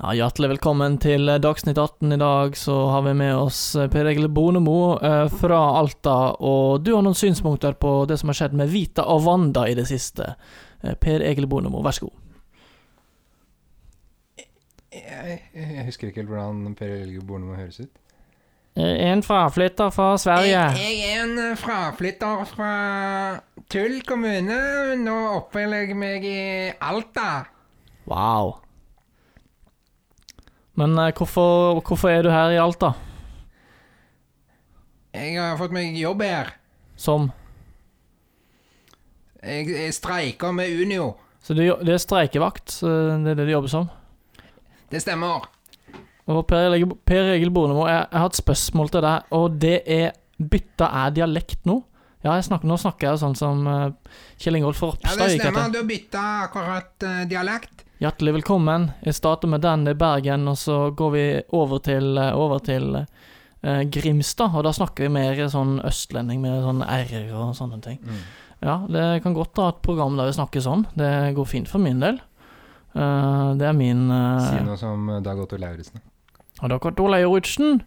Ja, hjertelig velkommen til eh, Dagsnytt 18. I dag så har vi med oss eh, Per Egil Bonemo eh, fra Alta. Og du har noen synspunkter på det som har skjedd med Vita og Wanda i det siste. Eh, Per Egil Bonemo, vær så god. Jeg, jeg husker ikke helt hvordan Per Helge Bornemo høres ut. Eh, En fraflytter fra Jeg, jeg er en eh, fraflytter fra Tull kommune. Nå oppholder jeg meg i Alta. Wow. Men eh, hvorfor, hvorfor er du her i Alta? Jeg har fått meg jobb her. Som Jeg, jeg streiker med Unio. Så du, jo- det er streikevakt, eh, det er det du jobber som? Det stemmer. Og Per Egil, per Egil Bornemo, jeg, jeg har et spørsmål til deg, og det er Bytta er dialekt nå? Ja, jeg snakker, nå snakker jeg sånn som eh, Kjell Ingolf Ja, Ropstad det gikk stemmer. etter. Du bytta akkurat eh, dialekt. Hjertelig velkommen. Jeg starter med den i Bergen, og så går vi over til, eh, over til eh, Grimstad, og da snakker vi mer sånn østlending med sånn r-er og sånne ting. Mm. Ja, det kan godt ha et program der vi snakker sånn. Det går fint for min del. Eh, det er min eh, Si noe som eh, Dag Otto Lauritzen. Og da kom Ole Joridsen.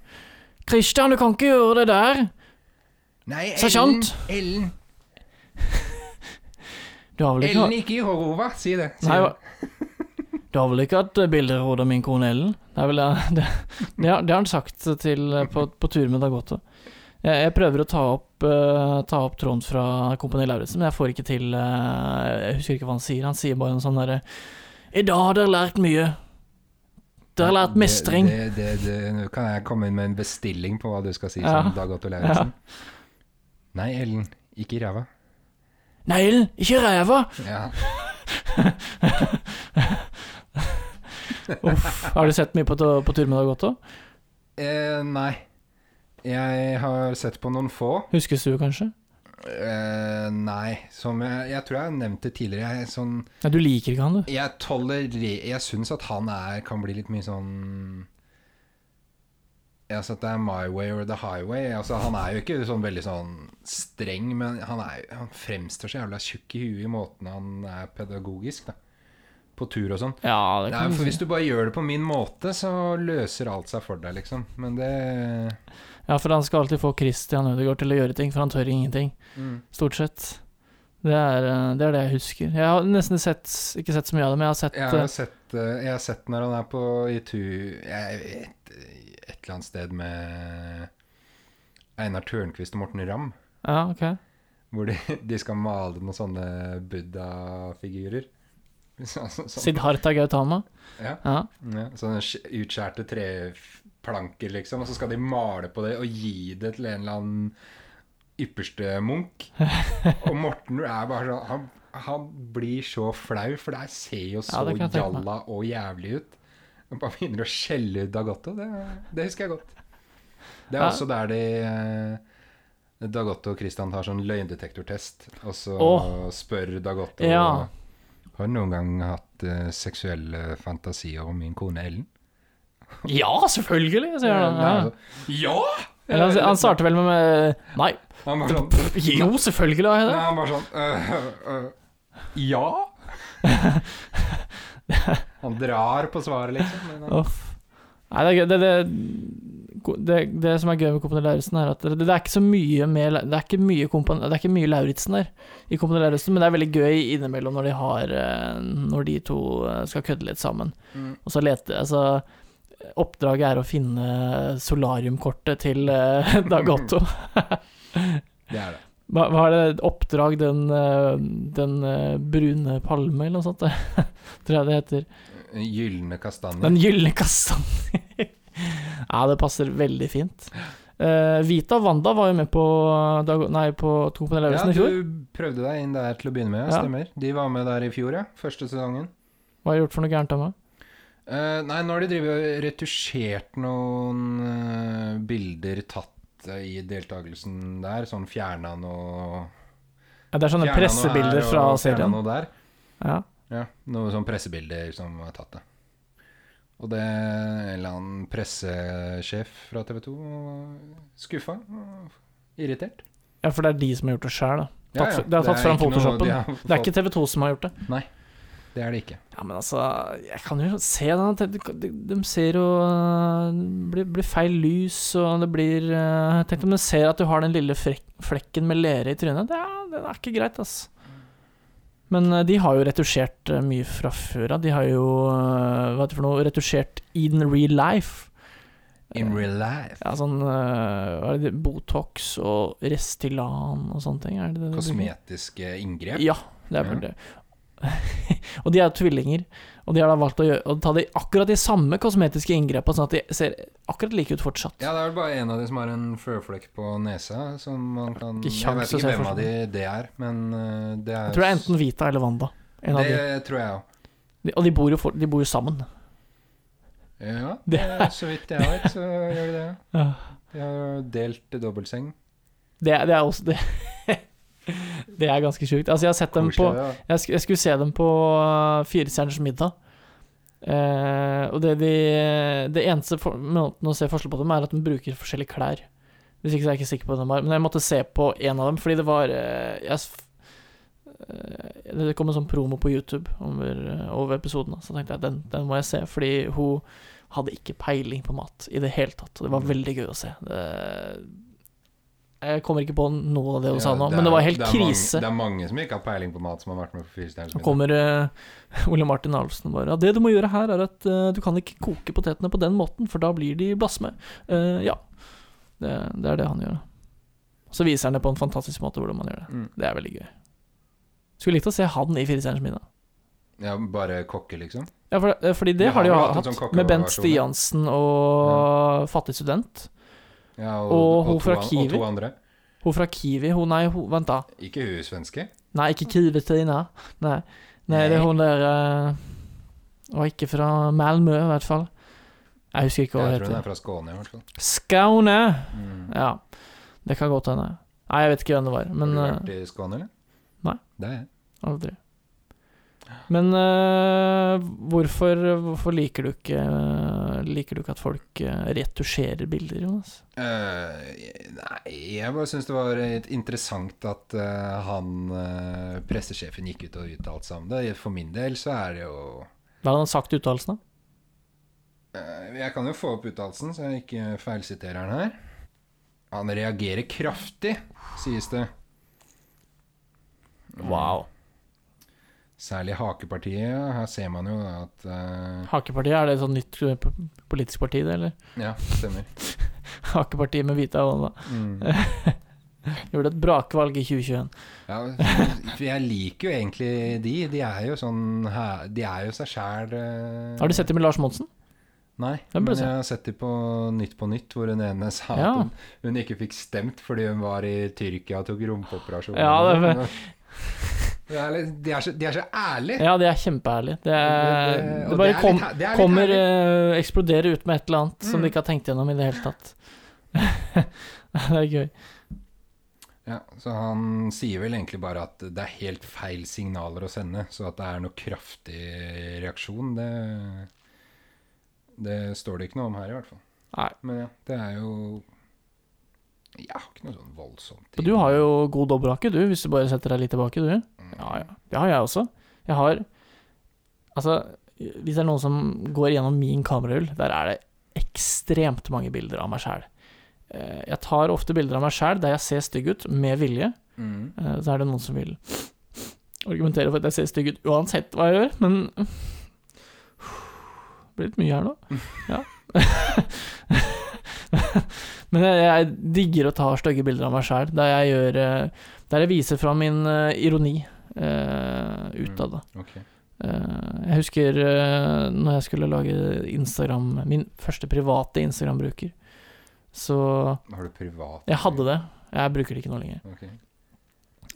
Christian, du kan ikke gjøre det der. Nei, Ellen. Sersjant. Ellen, Du har vel ikke, Ellen ikke i Horova. Si det. Si Nei, det. hva- du har vel ikke hatt eh, bilder i hodet av min kone Ellen? Det, er vel, eh, det, det, har, det har han sagt til, eh, på, på tur med Dagotto. Jeg, jeg prøver å ta opp, eh, ta opp tråden fra Kompani Lauritzen, men jeg får ikke til eh, Jeg husker ikke hva han sier. Han sier bare en sånn derre I dag har dere lært mye. Dere har lært mestring. Det, det, det, det, nå kan jeg komme inn med en bestilling på hva du skal si Ja. som Dag Otto Lauritzen. Nei, Ellen. Ikke i ræva. Nei, Ellen, ikke ræva! Ja. Uff. Har du sett mye på, t- på tur med Dagotto? Eh, nei. Jeg har sett på noen få. Huskestue, kanskje? Eh, nei. Som jeg, jeg tror jeg har nevnt det tidligere. Jeg, er sånn, Nei, du liker ikke han, du. jeg tolererer Jeg syns at han er, kan bli litt mye sånn Ja, så at det er my way or the highway. Altså, han er jo ikke sånn veldig sånn streng, men han, er, jo- han fremstår så jævla tjukk i huet i måten han er pedagogisk, da. På tur og sånn. Ja, det Nei, kan du for si. Hvis du bare gjør det på min måte, så løser alt seg for deg, liksom. Men det Ja, for han skal alltid få Christian Ødegaard til å gjøre ting, for han tør ingenting. mm. Stort sett. Det er eh, det, er det jeg husker. Jeg har nesten sett, ikke sett så mye av det, men jeg har sett Jeg har eh, jo sett, eh, jeg har sett når han er på i tu- jeg vet, eh, et eller annet sted med Einar Tørnquist og Morten Ramm, Ja, ok. hvor de, de skal male noen sånne buddha-figurer. Så, så, sånn, Siddharta Gautama. ja, Ja. ja, sånne sk- utskjærte treplanker, liksom, og så skal de male på det og gi det til en eller annen ypperste munk. Og Morten er bare sånn han, han blir så flau, for det her ser jo så Ja, det kan jeg tenke meg. jalla og jævlig ut. Han bare begynner å skjelle ut Dagotto. Det, det husker jeg godt. Det er Ja. også der de eh, Dagotto og Christian tar sånn løgndetektortest, og så Åh. spør Dagotto Ja. Har du noen gang hatt eh, seksuelle fantasier om min kone Ellen? Ja, selvfølgelig, sier han. Nei, Ja. altså, ja! Eller altså, han, han starter vel med, med Nei. Han var sånn, Jo, selvfølgelig har jeg nei, det. han var sånn øh, øh, Ja? Han drar på svaret, liksom. Men han, Uff. Nei, det er gøy. Det, det, det, det som er gøy med Kompani Lauritzen, er at det, det er ikke så mye med Det er ikke mye, kompan- det er ikke mye Lauritzen der i Kompani Lauritzen, men det er veldig gøy innimellom når de har eh, Når de to eh, skal kødde litt sammen. Mm. Og så lete Altså, oppdraget er å finne solariumkortet til eh, Dag Otto. det er det. Hva, hva er det oppdrag den, eh, den eh, brune palme, eller noe sånt? Tror jeg det heter. Gylne kastanjer. Den gylne kastanjen. ja, det passer veldig fint. Eh, Vita og Wanda var jo med på, Dag nei, på To Kompani Ja, Lauritzen i fjor. du prøvde deg inn der til å begynne med, ja. Ja. stemmer. De var med der i fjor, ja. Første sesongen. Hva har jeg gjort for noe gærent av meg? Eh, nei, nå har de drevet og retusjert noen eh, bilder tatt eh, i deltakelsen der. Sånn fjerna noe Ja, det er sånne fjerna noe her pressebilder og fra fjerna serien. Noe der. Ja. Ja, noen sånn pressebilder som er tatt, det. Og det en eller annen pressesjef fra TV 2 skuffa og irritert. ja, for det er de som har gjort det sjøl, da. Tatt, Ja, ja, Det har tatt er fram ikke noe- Photoshopen. de har det er fått- ikke TV2 som har gjort det. Nei. Det er det ikke. Ja, men altså, jeg kan jo se den at de, de, de ser jo øh, Det blir, blir feil lys, og det blir øh, Tenk om de ser at du har den lille frek, flekken med lere i trynet. Det er, det er ikke greit, ass. Men øh, de har jo retusjert øh, mye fra før av. De har jo øh, hva heter det for noe, retusjert Eden Real Life. In real life. Ja, sånn øh, hva er det, Botox og Restilan og sånne ting. Er det det de bruker? Kosmetiske inngrep. Ja, det er Ja. vel det. og de er jo tvillinger, og de har da valgt å, gjøre, å ta de, akkurat de samme kosmetiske inngrepa, sånn at de ser akkurat like ut fortsatt. Ja, det er vel bare en av de som har en føflekk på nesa. Som man kan Ikke Jeg kjangs vet å ikke se hvem for av de det er, men eh, det er Jeg tror det er enten Vita eller Wanda. En av de. Det tror jeg òg. De- Og de bor jo, for, de bor jo sammen. Ja, Det eh, så vidt jeg vet, så gjør de det. Ja. De har delt dobbeltseng. Det, er- det er også det. det er ganske sjukt. Altså, jeg har sett dem på Koselig, da. Jeg, sk jeg skulle se dem på uh, Firestjerners middag. Eh, og det, de, det eneste for måten å se forskjell på dem, er at de bruker forskjellige klær. Hvis ikke så er jeg ikke sikker på hvem de er. Men jeg måtte se på en av dem, fordi det var eh, jeg, s- eh, Det kom en sånn promo på YouTube over, eh, over episoden, så tenkte jeg den, den må jeg se. Fordi hun hadde ikke peiling på mat i det hele tatt. Og det Mm. var veldig gøy å se. Det, jeg kommer ikke på noe av det hun Ja, sa nå, er- men det var helt er krise. Mange, det er mange som ikke har peiling på mat, som har vært med på Fyrstjernens Så kommer eh, Ole Martin Arlsen og bare Ja, det du må gjøre her, er at eh, du kan ikke koke potetene på den måten, for da blir de blasme. Eh, ja. Det, det er det han gjør. da. Så viser han det på en fantastisk måte hvordan man gjør det. Mm. Det er veldig gøy. Skulle likt å se han i Firestjerners middag. Ja, bare kokke, liksom. Ja, for, eh, fordi det Vi har de jo har jo hatt en hatt, sånn kokkeversjon, med Bent ja. Stiansen og Fattig student. Ja, Og hun fra to, an- Kiwi. Og to andre. Hun fra Kiwi Hun, nei, hun, vent da. Ikke hun svenske. Nei, ikke Kiwi-Tina. Nei. Nei, det er hun der eh, Og ikke fra Malmö, i hvert fall. Jeg husker ikke hva hun Jeg tror hun er heter. fra Skåne, i hvert fall. Skåne! Mm. Ja, det kan godt hende. Nei, jeg vet ikke hvem det var, men har du eh, vært i Skåne, eller? nei. Det er jeg. aldri. Men eh, hvorfor, hvorfor liker du ikke Liker du ikke at folk eh, retusjerer bilder, Jonas? Eh, nei, jeg bare syns det var litt interessant at eh, han eh, pressesjefen gikk ut og uttalte seg om det. For min del så er det jo Hva hadde han sagt i uttalelsene? Eh, Jeg kan jo få opp uttalelsen, så jeg ikke feilsiterer den her. Han reagerer kraftig, sies det. Wow. Særlig hakepartiet. Her ser man jo at eh, Hakepartiet, er det et sånt nytt eh, p- politisk parti, det, eller? Ja, stemmer. Hakepartiet med Vita Wanda. Mm. Gjorde et brakvalg i 2021. Ja, for jeg liker jo egentlig de. De er jo sånn hæ- De er jo seg eh. sjæl Har du sett det med Lars Monsen? Nei, Den burde men du se. jeg har sett de på Nytt på Nytt, hvor hun ene sa Ja. at hun, hun ikke fikk stemt fordi hun var i Tyrkia og tok rumpeoperasjon. Ja, det er- Men- Det er litt- de, er så, de er så ærlige. Ja, det er kjempeærlig. Det, er, Det- eh, og Eh, det bare det er kom, litt her- det er litt Mm. kommer herlig. eh, Eksploderer ut med et eller annet som de ikke har tenkt gjennom i det hele tatt. det er gøy. Ja, så han sier vel egentlig bare at det er helt feil signaler å sende, så at det er noe kraftig reaksjon, det, det står det ikke noe om her i hvert fall. Nei. Men ja, det er jo Jeg har ikke noe sånn voldsomt. Og Du har jo god dobbelthake, du, hvis du bare setter deg litt tilbake, du. Ja, ja. Det har jeg også. Jeg har Altså, hvis det er noen som går gjennom min kamerahull, der er det ekstremt mange bilder av meg sjæl. Jeg tar ofte bilder av meg sjæl der jeg ser stygg ut, med vilje. Mm. Eh, Så er det noen som vil argumentere for at jeg ser stygg ut uansett hva jeg gjør, men det blir litt mye her nå. Ja. men jeg, jeg digger å ta stygge bilder av meg sjæl, der jeg gjør eh, Der jeg viser fram min eh, ironi uh, utad. da. Ok. Eh, jeg husker uh, når jeg skulle lage Instagram, min første private Instagram-bruker, så Har du privat Jeg hadde det. Jeg bruker det ikke nå lenger. Ok.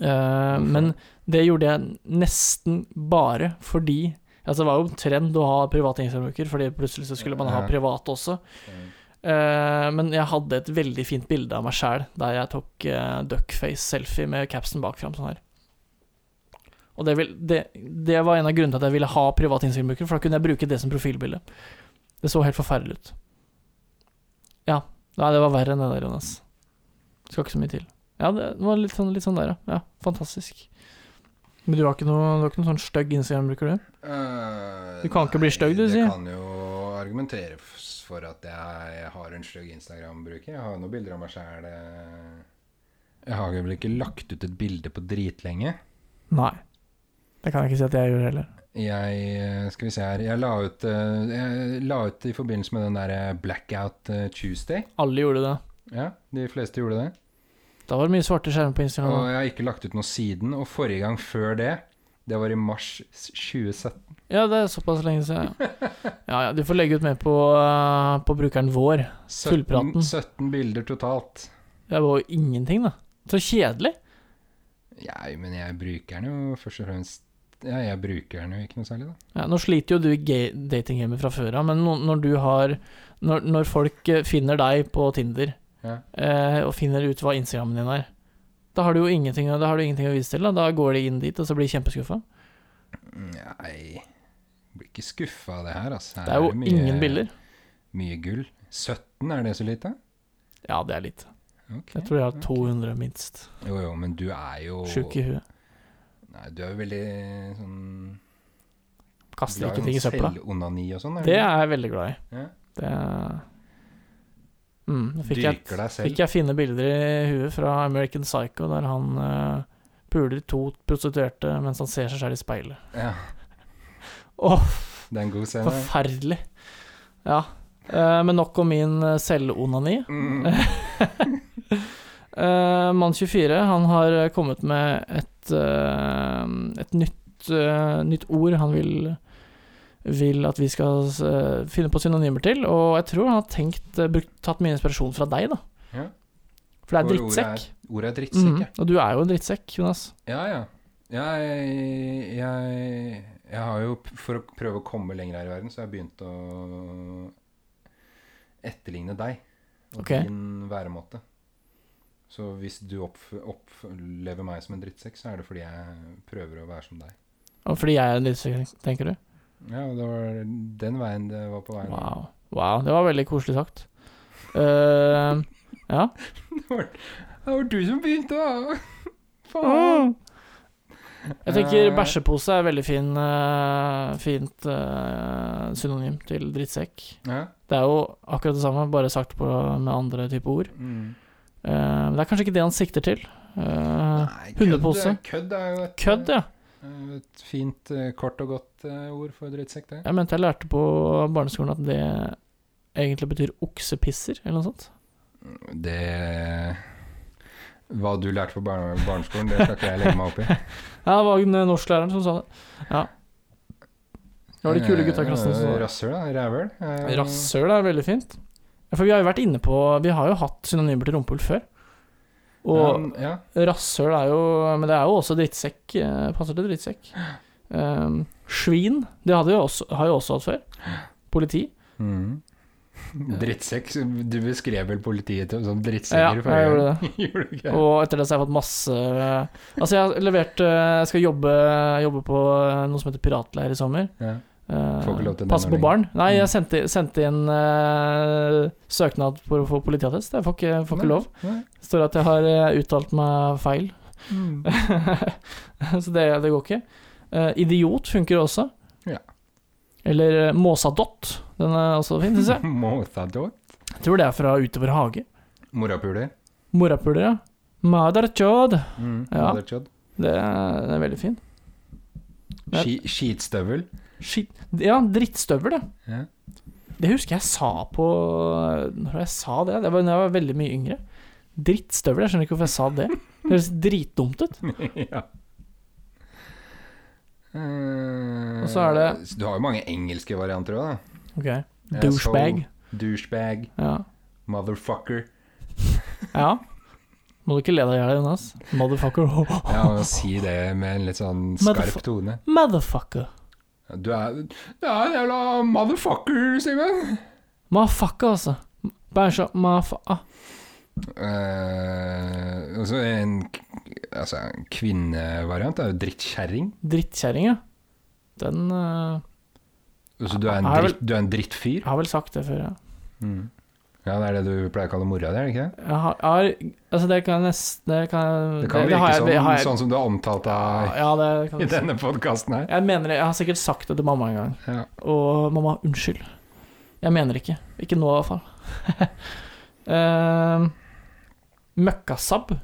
Eh, men det gjorde jeg nesten bare fordi Altså, det var jo en trend å ha private Instagram-bruker, fordi plutselig så skulle man ha Ja. private også. Mm. Eh, men jeg hadde et veldig fint bilde av meg sjæl der jeg tok eh, duckface-selfie med capsen bak fram sånn her. Og det, vil, det, det var en av grunnene til at jeg ville ha private Instagram-brukere, for da kunne jeg bruke det som profilbilde. Det så helt forferdelig ut. Ja. Nei, det var verre enn det der, Jonas. Skal ikke så mye til. Ja, det var litt sånn, litt sånn der, ja. ja. Fantastisk. Men du har ikke noe, du har ikke noe sånn stygg Instagram-bruker, du? Eh, Du kan ikke bli nei, stygg, du, det sier. kan jo argumentere f- for at jeg, jeg har en stygg Instagram-bruker. Jeg har jo noen bilder av meg sjæl. Jeg har jo vel ikke lagt ut et bilde på dritlenge. Nei. Det kan jeg ikke si at jeg gjør heller. Jeg eh, skal vi se her Jeg la ut, eh, jeg la ut i forbindelse med den derre Blackout eh, Tuesday. Alle gjorde det. Ja, de fleste gjorde det. Da var det mye svarte skjermer på Instagram. Og da. jeg har ikke lagt ut noe siden. Og forrige gang før det, det var i mars 2017. Ja, det er såpass lenge siden. ja. Ja, ja. Du får legge ut mer på, eh, på brukeren vår. 17, Tullpraten. 17 bilder totalt. Det var jo ingenting, da. Så kjedelig. Ja, men jeg bruker den jo først og fremst Ja, jeg bruker den jo ikke noe særlig, da. Ja, nå sliter jo du i ga- datinggamet fra før av, men no- når du har når, når folk eh, finner deg på Tinder, Ja. eh, og finner ut hva Instagrammen din er, da har du jo ingenting, da har du ingenting å vise til. Da. da går de inn dit, og så blir de kjempeskuffa. Nei jeg Blir ikke skuffa av det her, altså. Her Det er jo mye- ingen bilder. Mye gull. 17, er det så lite? Ja, det er litt. Ok. Jeg tror jeg har 200 minst. Jo, jo, men du er jo Sjuk i huet. Nei, du er jo veldig sånn Kaster glad i ikke ting i sånn søpla. Selvonani og sånn? er Det du? er jeg veldig glad i. Ja. Det mm, nå fikk, Dyrker jeg, deg selv. fikk jeg fine bilder i huet fra American Psycho, der han eh, puler to prostituerte mens han ser seg selv i speilet. ja. Åh, Det er en god scene. forferdelig! Ja. Eh, men nok om min eh, selvonani. Mm. Eh, Mann 24 han har eh, kommet med et, eh, et nytt, eh, nytt ord han vil, vil at vi skal eh, finne på synonymer til. Og jeg tror han har tenkt, eh, brukt, tatt mye inspirasjon fra deg, da. Ja. For det er For ordet er drittsekk. Ordet er drittsekk, Mhm. ja. Og du er jo en drittsekk, Jonas. Ja, ja. Jeg, jeg, jeg har jo, p- for å prøve å komme lenger her i verden, så har jeg begynt å etterligne deg og Ok. din væremåte. Så hvis du oppf opplever meg som en drittsekk, så er det fordi jeg prøver å være som deg. Og fordi jeg er en drittsekk, tenker du? Ja, og det var den veien det var på veien. Wow. wow. Det var veldig koselig sagt. Eh, ja. Det, var, det var du som begynte, da! Faen! Jeg tenker Eh. bæsjepose er veldig fin, eh, fint eh, synonym til drittsekk. Ja. Det er jo akkurat det samme, bare sagt på, med andre typer ord. Mm. Eh, men det er kanskje ikke det han sikter til. Eh, Nei, hundepose. kødd- Kødd er jo et, kødd, ja. eh, et fint, eh, kort og godt eh, ord for drittsekk, det. Jeg mente jeg lærte på barneskolen at det egentlig betyr oksepisser, eller noe sånt. Det Hva du lærte på barne barneskolen, det skal ikke jeg legge meg opp i. Ja, det var en, eh, norsklæreren som sa det. Ja. Det var de kule gutta i klassen som sa Eh, det. Rasshøl, da. Rævhøl. Eh, Rasshøl er veldig fint. Ja, for vi har jo vært inne på Vi har jo hatt synonymer til rumpehull før. Og men, ja. rasshøl er jo Men det er jo også drittsekk. eh, Passer til drittsekk. Um, svin, det hadde jo også, har jo også hatt før. Politi. Mm. Mhm. Drittsekk. Du beskrev vel politiet til, som Ja, drittsekker jeg gjorde det. gjorde du ikke det? Og etter det så har jeg fått masse Altså, jeg har levert eh, Jeg skal jobbe, jobbe på eh, noe som heter piratleir i sommer. Ja. Eh, Får ikke lov til det passe nå på lenger. barn. Nei, Mm. jeg sendte, sendte inn eh, søknad for å få politiattest. Jeg får ikke, får Nei, ikke lov. nei. Det står at jeg har eh, uttalt meg feil. så det, det går ikke. Eh, idiot funker også. Ja. Eller eh, måsadott. Den er også fin, syns jeg. Måsadot. jeg. Tror det er fra Utover hage. Morapuler. Morapuler, ja. Madarchod. Mm. Ja. Motherchod. Det er, den er veldig fin. Ja. Ski- Skitstøvel. Shit. Ja, drittstøvel, ja. Ja. Det husker jeg sa på eh, Når jeg sa det? Det var da jeg var veldig mye yngre. Drittstøvel, jeg skjønner ikke hvorfor jeg sa det. Det høres dritdumt ut. ja. Eh, Og så er det- Du har jo mange engelske varianter òg, da. Ok. Asshole. Douchebag. Douchebag, Ja. motherfucker. ja. Må du ikke le deg i hjel, Jonas. Motherfucker. Ja, å si det med en litt sånn skarp Motherf- tone. Motherfucker. Du er, du er en jævla motherfucker, Simen! Motherfucker, altså. Bæsja Motherfucker. Eh, og så en, k- altså, en kvinnevariant er jo drittkjerring. Drittkjerring, ja. Den eh, Altså, du, er en Er vel- dritt, du er en drittfyr. Jeg har vel sagt det før, ja. Mm. Ja, det er det du pleier å kalle mora di, er det ikke det? Jeg har, har Altså, det kan nesten Det kan, Det kan virke har jeg- sånn, det har jeg- sånn som du har omtalt deg Ja, det kan i denne podkasten her. Jeg mener det, jeg har sikkert sagt det til mamma en gang. Ja. Og mamma, unnskyld. Jeg mener det ikke. Ikke nå, i hvert fall. uh, møkkasabb,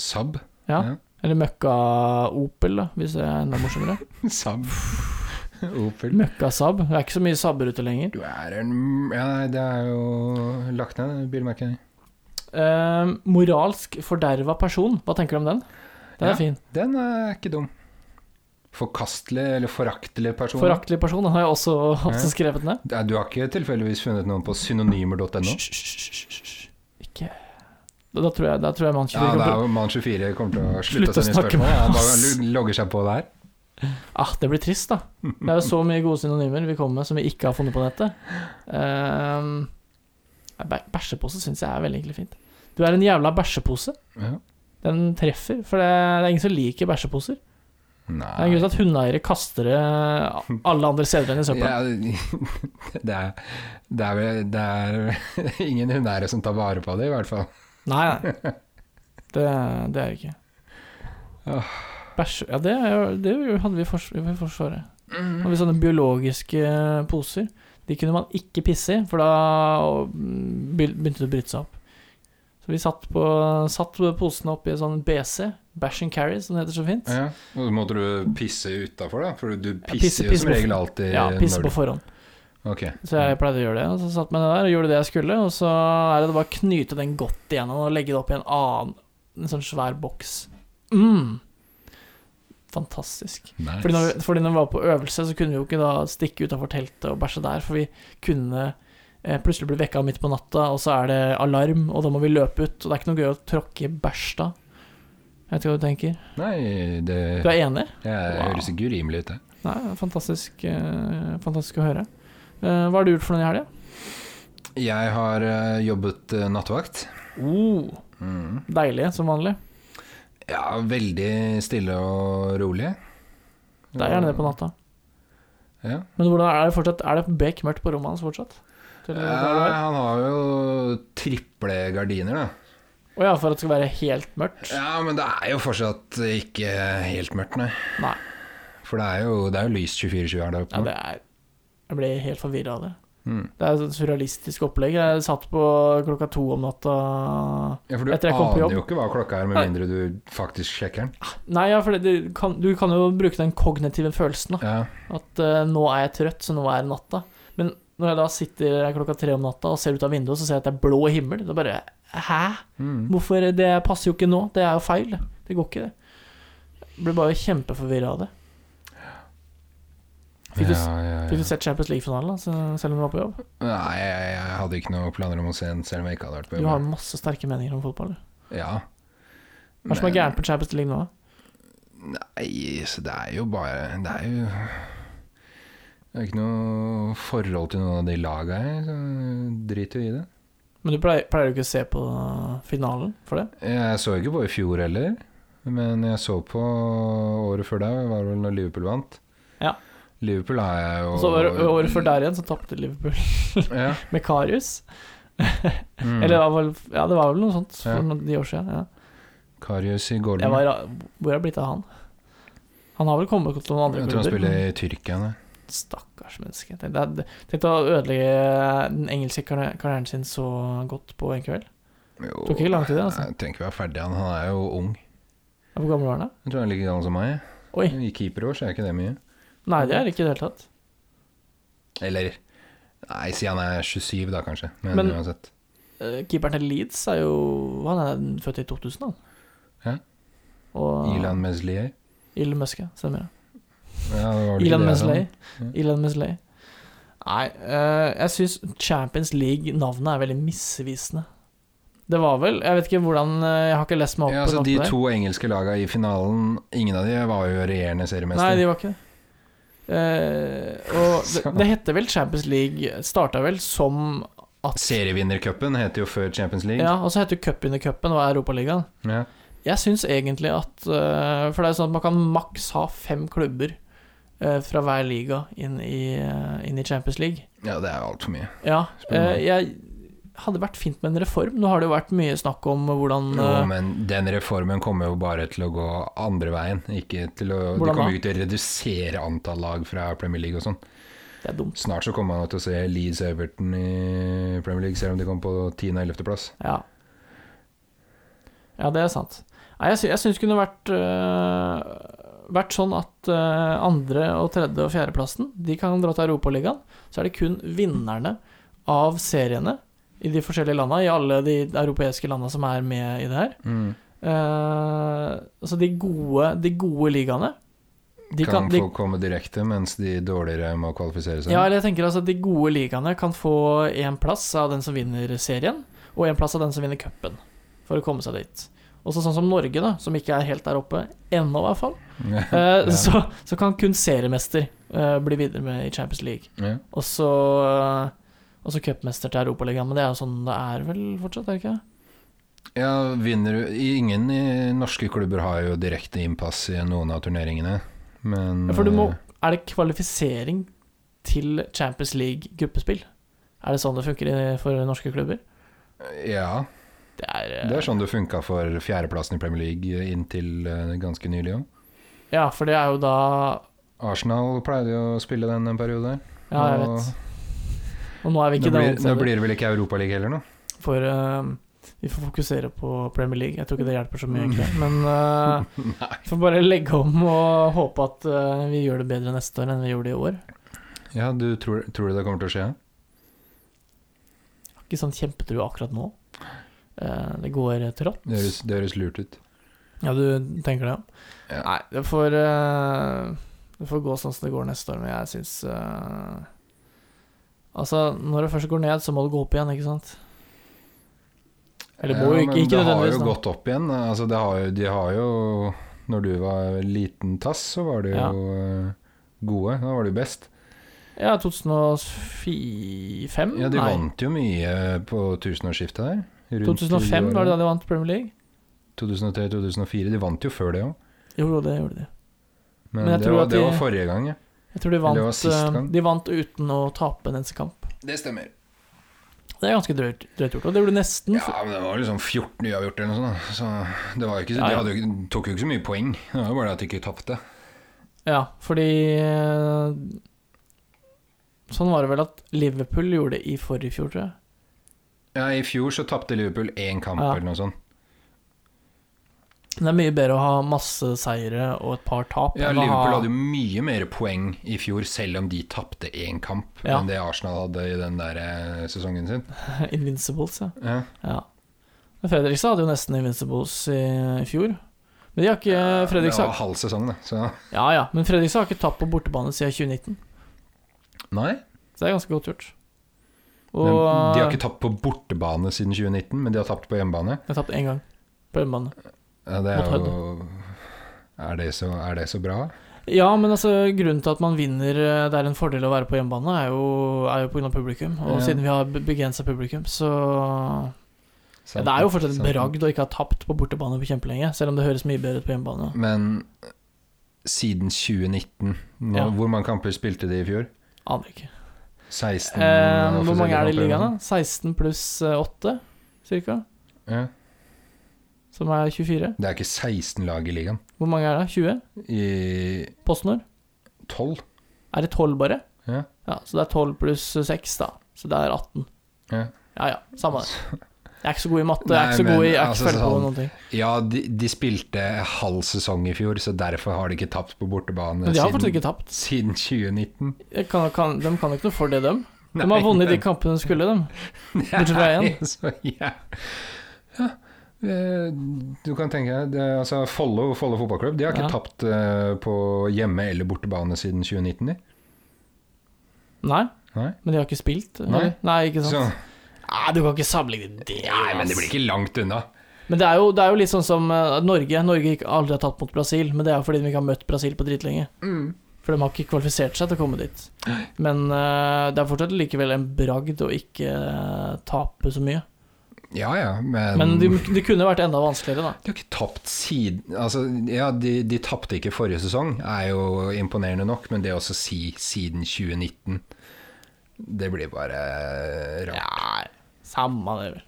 Sab. ja. Ja. Eller møkka-opel, da, hvis det er enda morsommere. Sab. Opel. Møkkasabb. Det er ikke så mye sabber ute lenger. Du er en Ja, nei, det er jo lagt ned, det bilmerket. Eh, moralsk forderva person, hva tenker du om den? Den Ja. er fin. Den er ikke dum. Forkastelig eller foraktelig person. Foraktelig person, den har jeg også, også skrevet ned. Nei, Du har ikke tilfeldigvis funnet noen på synonymer.no? Hysj, hysj, hysj, hysj. Ikke da, da tror jeg, da tror jeg man Ja, ikke det ja, er jo Mann 24 kommer til å Slutt slutte å å sende snakke med spørsmål. Han bare oss. lo- logger seg på der. ah, det blir trist, da. Det er jo så mye gode synonymer vi kommer med som vi ikke har funnet på nettet. Ehm, nei, bæ- bæsjepose syns jeg er veldig egentlig fint. Du er en jævla bæsjepose. Ja. Den treffer, for det, det er ingen som liker bæsjeposer. Det er en grunn Nei til at hundeeiere kaster det alle andre steder enn i søpla. ja, det, er, det, er, vel- det er ingen hundeeiere som tar vare på det, i hvert fall. Nei, nei. Det, det er det ikke. Åh. Bæsje Ja, det, er, jo- det hadde vi i fors- i Forsvaret. Hadde vi sånne biologiske eh, poser. De kunne man ikke pisse i, for da mm, be- begynte det å bryte seg opp. Så vi satt, på, satt posene oppi en sånn BC, Bash and Carry, som det heter så fint. Ja. Og så måtte du pisse utafor, da? For du Ja, pisser pisse- jo pisse som på- regel alltid. Ja, pisse når på du- forhånd. Ok. Så jeg pleide å gjøre det, og så satt med det der og gjorde det jeg skulle. Og så er det bare å knyte den godt igjennom og legge det opp i en annen en sånn svær boks. Mm. Fantastisk. Nice. Fordi når, vi- fordi når vi var på øvelse, så kunne vi jo ikke da stikke utafor teltet og bæsje der, for vi kunne eh, plutselig bli vekka midt på natta, og så er det alarm, og da må vi løpe ut. Og det er ikke noe gøy å tråkke i bæsj da. Jeg vet ikke hva du tenker. Nei, det Du er enig? jeg Wow. høres ikke urimelig ut, det. Nei, fantastisk, eh, fantastisk å høre. Eh, hva har du gjort for noe i helga? Jeg har eh, jobbet eh, nattevakt. Oh. Mm. Deilig, som vanlig. Ja, veldig stille og rolig. Det er gjerne det på natta. Ja. Men hvordan er det fortsatt? Er det bekmørkt på rommet hans fortsatt? Til- Eh, der du er? han har jo triple gardiner, da. Å ja, for at det skal være helt mørkt? Ja, men det er jo fortsatt ikke helt mørkt, nei. Nei. For det er jo, det er jo lyst 24-20 her der oppe. Ja, nå. det er Jeg ble helt forvirra av det. Mm. Det er et sånt surrealistisk opplegg. Jeg satt på klokka to om natta ja, for du Etter jeg kom på jobb. aner jo ikke hva klokka er, med Nei. mindre du faktisk sjekker den. Nei, ja, for det, du, kan, du kan jo bruke den kognitive følelsen. Da. Ja. At eh, nå er jeg trøtt, så nå er natta. Men når jeg da sitter klokka tre om natta og ser ut av vinduet, så ser jeg at det er blå himmel. Da bare Hæ? Mm. Hvorfor Det passer jo ikke nå. Det er jo feil. Det går ikke, det. Jeg ble bare kjempeforvirra av det. Fikk du, ja, ja, fikk du ja. sett Champions League-finalen, altså, selv om du var på jobb? Nei, jeg, jeg hadde ikke noen planer om å se den, selv om jeg ikke hadde vært på Du jobb. har masse sterke meninger om fotball. du. Ja. Hva er det som er gærent på Champions League nå? da? Nei, så det er jo bare Det er jo Det er ikke noe forhold til noen av de laga her, så drit jo i det. Men du pleier, pleier jo ikke å se på finalen for det? Jeg så ikke på i fjor heller, men jeg så på året før der, var vel når Liverpool vant. Ja. Liverpool har jeg jo Og så Altså, året, året før der igjen så tapte Liverpool Ja. med Karius. Mm. Eller det var vel, ja, det var vel noe sånt for Ja. noen de år siden. Ja. Karius i Jeg Golden. var, Jeg, hvor er det blitt av han? Han har vel kommet til noen andre tror han klubber? spiller i Tyrkia. nei. Stakkars menneske. Tenk deg- tenk deg å ødelegge den engelske karri- karrieren sin så godt på en kveld. Jo, Tok ikke lang tid, det, altså. Jeg trenger ikke være ferdig, han, han er jo ung. Hvor gammel var han da? Jeg tror han er like gammel som meg. Oi. I keeperår så er ikke det mye. Nei, det er det ikke i det hele tatt. Eller Nei, si han er 27 da, kanskje. Men, Men- uansett. Eh, Keeperen til Leeds er jo Han er født i 2000, han. Ja. Og Ilan Meslier. Elon Musk, ja. Stemmer det. Ja, det var vel ikke Elon det, sånn? Musley. Ja. Elon Musley. Nei, eh, jeg syns Champions League-navnet er veldig misvisende. Det var vel Jeg vet ikke hvordan eh, Jeg har ikke lest meg da. opp Ja, på altså, nok de på det. to engelske laga i finalen, ingen av de var jo regjerende seriemester. Nei, de var ikke det. Eh, og det, det heter vel Champions League Starta vel som at Serievinnercupen heter jo før Champions League. Ja, og så heter cupvinnercupen og Europaligaen. Ja. Jeg syns egentlig at eh, For det er sånn at man kan maks ha fem klubber eh, fra hver liga inn i, eh, inn i Champions League. Ja, det er altfor mye. Ja, Spør meg. eh, jeg hadde vært fint med en reform. Nå har det jo vært mye snakk om hvordan Jo, eh, men den reformen kommer jo bare til å gå andre veien. Ikke til å, de Hvordan da? kommer jo ikke til å redusere antall lag fra Premier League og sånn. Det er dumt. Snart så kommer man til å se Leeds Everton i Premier League, selv om de kom på 10. og 11. plass. Ja. Ja, det er sant. Nei, jeg, sy jeg syns det kunne vært øh, Vært sånn at øh, andre- og tredje- og fjerdeplassen De kan dra til Europaligaen. Så er det kun vinnerne av seriene i de forskjellige landa, i alle de europeiske landa som er med i det her. Eh, altså de gode, de gode ligaene de De kan, de, få komme direkte, mens de dårligere må kvalifisere seg. ja, eller jeg tenker altså at de gode ligaene kan få én plass av den som vinner serien, og én plass av den som vinner cupen, for å komme seg dit. Og så sånn som Norge, da, som ikke er helt der oppe ennå, i hvert fall, Ja. eh, så, så kan kun seriemester eh, bli videre med i Champions League. Ja. Og så eh, og så cupmester til Europaligaen, men det er jo sånn det er vel fortsatt, er det ikke? ja, vinner du Ingen i norske klubber har jo direkte innpass i noen av turneringene, men Ja, for du må Er det kvalifisering til Champions League gruppespill? Er det sånn det funker i- for norske klubber? eh, Ja. Det er, eh, Det er sånn det funka for fjerdeplassen i Premier League inntil eh, ganske nylig òg. Ja, for det er jo da Arsenal pleide jo å spille den en periode der. Ja, jeg Og- vet. Og nå er vi Nå ikke der blir, nå noen steder, blir det vel ikke Europaliga heller nå? for eh, vi får fokusere på Premier League. Jeg tror ikke det hjelper så mye, egentlig. Mm. Men eh, vi får bare legge om og håpe at eh, vi gjør det bedre neste år enn vi gjorde i år. Ja, du tror, tror du det kommer til å skje? Har Ikke sånn kjempetrua akkurat nå. Eh, det går trått. Det høres, det høres lurt ut. Ja, du tenker det? Ja. Nei, det får, eh, det får gå sånn som det går neste år, men jeg syns eh, Altså, når det først går ned, så må det gå opp igjen, ikke sant? Eller må jo Ja, ikke, men ikke det har nødvendigvis. jo da. gått opp igjen. Altså, det har, jo- de har jo Når du var liten tass, så var de Ja. jo eh, gode. Da var de best. Ja, 2005? Ja, de Nei, vant jo mye på tusenårsskiftet der. Rundt 2005 var det da de vant Premier League? 2003-2004. De vant jo før det òg. Jo, det gjorde de. Men, Men jeg det, tror var, at det de- var forrige gang, ja. Jeg tror de Eller det var vant, sist eh, gang. de vant uten å tape en eneste kamp. Det stemmer. Det er ganske drøyt, drøyt gjort. Og det ble nesten f- Ja, men det var liksom 14 uavgjort eller noe sånt. da. Så det var jo ikke, Ja, de ja. hadde jo, ikke- tok jo ikke så mye poeng. Det var jo bare det at de ikke tapte. Ja, fordi eh, Sånn var det vel at Liverpool gjorde det i forrige fjor, tror jeg. Ja, I fjor så tapte Liverpool én kamp Ja. eller noe sånt. Men det er mye bedre å ha masse seire og et par tap. Ja, enn å ha- Liverpool hadde jo mye mer poeng i fjor, selv om de tapte én kamp, Ja. enn det Arsenal hadde i den der eh, sesongen sin. Invincibles, ja. Ja. ja. Men Fredrikstad hadde jo nesten Invincibles i, i fjor. Men de har ikke eh, Fredrikstad Det var halv sesong, da. Så Ja ja, men Fredrikstad har ikke tapt på bortebane siden 2019. nei. Så det er ganske godt gjort. Og eh, Men de har ikke... ikke tapt på bortebane siden 2019, men de har tapt på hjemmebane. jeg tapte én gang på hjemmebane. Ja, det er Mot jo er det, så, er det så bra? Ja, men altså, grunnen til at man vinner eh, Det er en fordel å være på hjemmebane, er jo, er jo pga. publikum. Og Ja. siden vi har begrensa publikum, så ja, Det er jo fortsatt en Sant. bragd å ikke ha tapt på bortebane på kjempelenge, selv om det høres mye bedre ut på hjemmebane. Men siden 2019 nå, Ja. Hvor mange kamper spilte de i fjor? Aner ikke. Eh, 16? hvor offisielle mange er det i kamper, ligaen, da? 16 pluss 8, cirka? Ja. Som er 24. Det er ikke 16 lag i ligaen. Hvor mange er det? 20? I PostNord? 12? Er det 12 bare? Ja. Ja, så det er 12 pluss 6, da. Så det er 18. Ja, Ja ja, samme det. Jeg er ikke så god i matte, jeg Nei, er ikke så men god i jeg er ikke altså, så veldig god i sånn- noen ting. ja de, de spilte halv sesong i fjor, så derfor har de ikke tapt på bortebane Men de har siden, fortsatt ikke tapt. siden 2019. Jeg Kan, kan, de kan ikke noe for det, dem. De Nei, har vunnet de men- kampene de skulle, dem. bortsett fra Nei, én. så jæv- Ja. eh, Du kan tenke deg det- altså Follo Follo fotballklubb De har Ja. ikke tapt eh, på hjemme- eller bortebane siden 2019. De. Nei, Nei. men de har ikke spilt. eller? Nei. Nei ikke sant. Så, Nei, du kan ikke sammenligne det. nei, men det ass. blir ikke langt unna. Men det er, jo, det er jo litt sånn som eh, Norge. Norge ikke aldri har tatt mot Brasil, men det er jo fordi de ikke har møtt Brasil på dritlenge. For de har ikke kvalifisert seg til å komme dit. Men eh, det er fortsatt likevel en bragd å ikke eh, tape så mye. Ja ja, men, Men de, det det kunne vært enda vanskeligere, da. har ikke tapt siden Altså, ja, de, de tapte ikke forrige sesong, er jo imponerende nok, men det å også si siden 2019 Det blir bare rart. Ja, samme det, vel.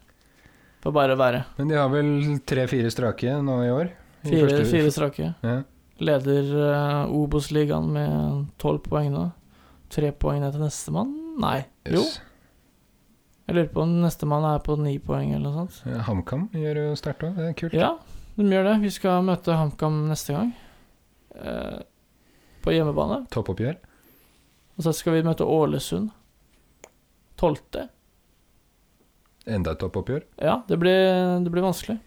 Får bare være. Men de har vel tre-fire strake nå i år? I Fire, første- fire strake. Ja. Leder uh, Obos-ligaen med tolv poeng nå. Tre poeng ned til nestemann? Nei. Jo, Yes. jeg lurer på om nestemann er på ni poeng eller noe sånt. Ja, HamKam gjør jo sterkt òg, det er kult. Ja, de gjør det. Vi skal møte HamKam neste gang. Eh, på hjemmebane. Toppoppgjør. Og så skal vi møte Ålesund. Tolvte. Enda et toppoppgjør. Ja, det blir, det blir vanskelig.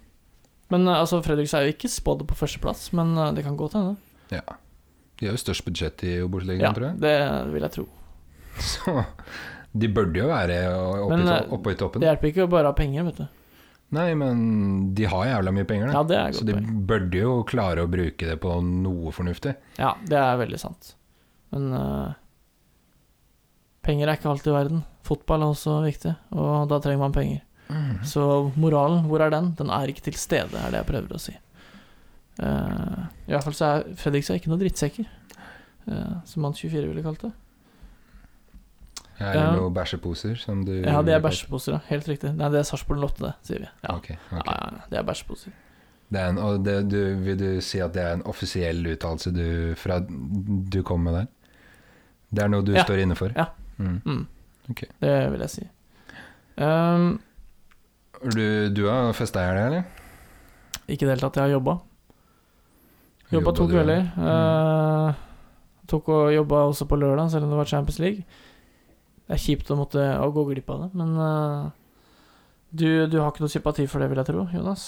Men eh, altså, Fredrikstad er jo ikke spådd på førsteplass, men eh, det kan godt hende. Ja. De har jo størst budsjett i Obos-ligaen, Ja, tror jeg. det vil jeg tro. Så de burde jo være oppe, Men, i, eh, to oppe i toppen. Det hjelper ikke å bare ha penger, vet du. Nei, men de har jævla mye penger, da. Ja, det er et så godt de poeng. burde jo klare å bruke det på noe fornuftig. Ja, det er veldig sant. Men eh, penger er ikke alt i verden. Fotball er også viktig, og da trenger man penger. Mm. Så moralen, hvor er den? Den er ikke til stede, er det jeg prøver å si. Eh, I hvert fall så er Fredrikstad ikke noen drittsekker, eh, som han 24 ville kalt det. Her er Ja. det noen bæsjeposer som du Ja, det er bæsjeposer, ja. Helt riktig. Nei, det er Sarpsborg 8, det, sier vi. Ja, Ok, ja, ok. ja, det er bæsjeposer. Det er en, og det, du, vil du si at det er en offisiell uttalelse du, fra du kom med der? Det er noe du Ja. står inne for? Ja. Mm. Mm. Ok. Det vil jeg si. Um, Du, du har festa i helga, eller? ikke i det hele tatt, jeg har jobba. Jobba to du, ja. kvelder. eh, tok og jobba også på lørdag, selv om det var Champions League. Det er kjipt å måtte å gå glipp av det, men eh, du, du har ikke noe sympati for det, vil jeg tro, Jonas?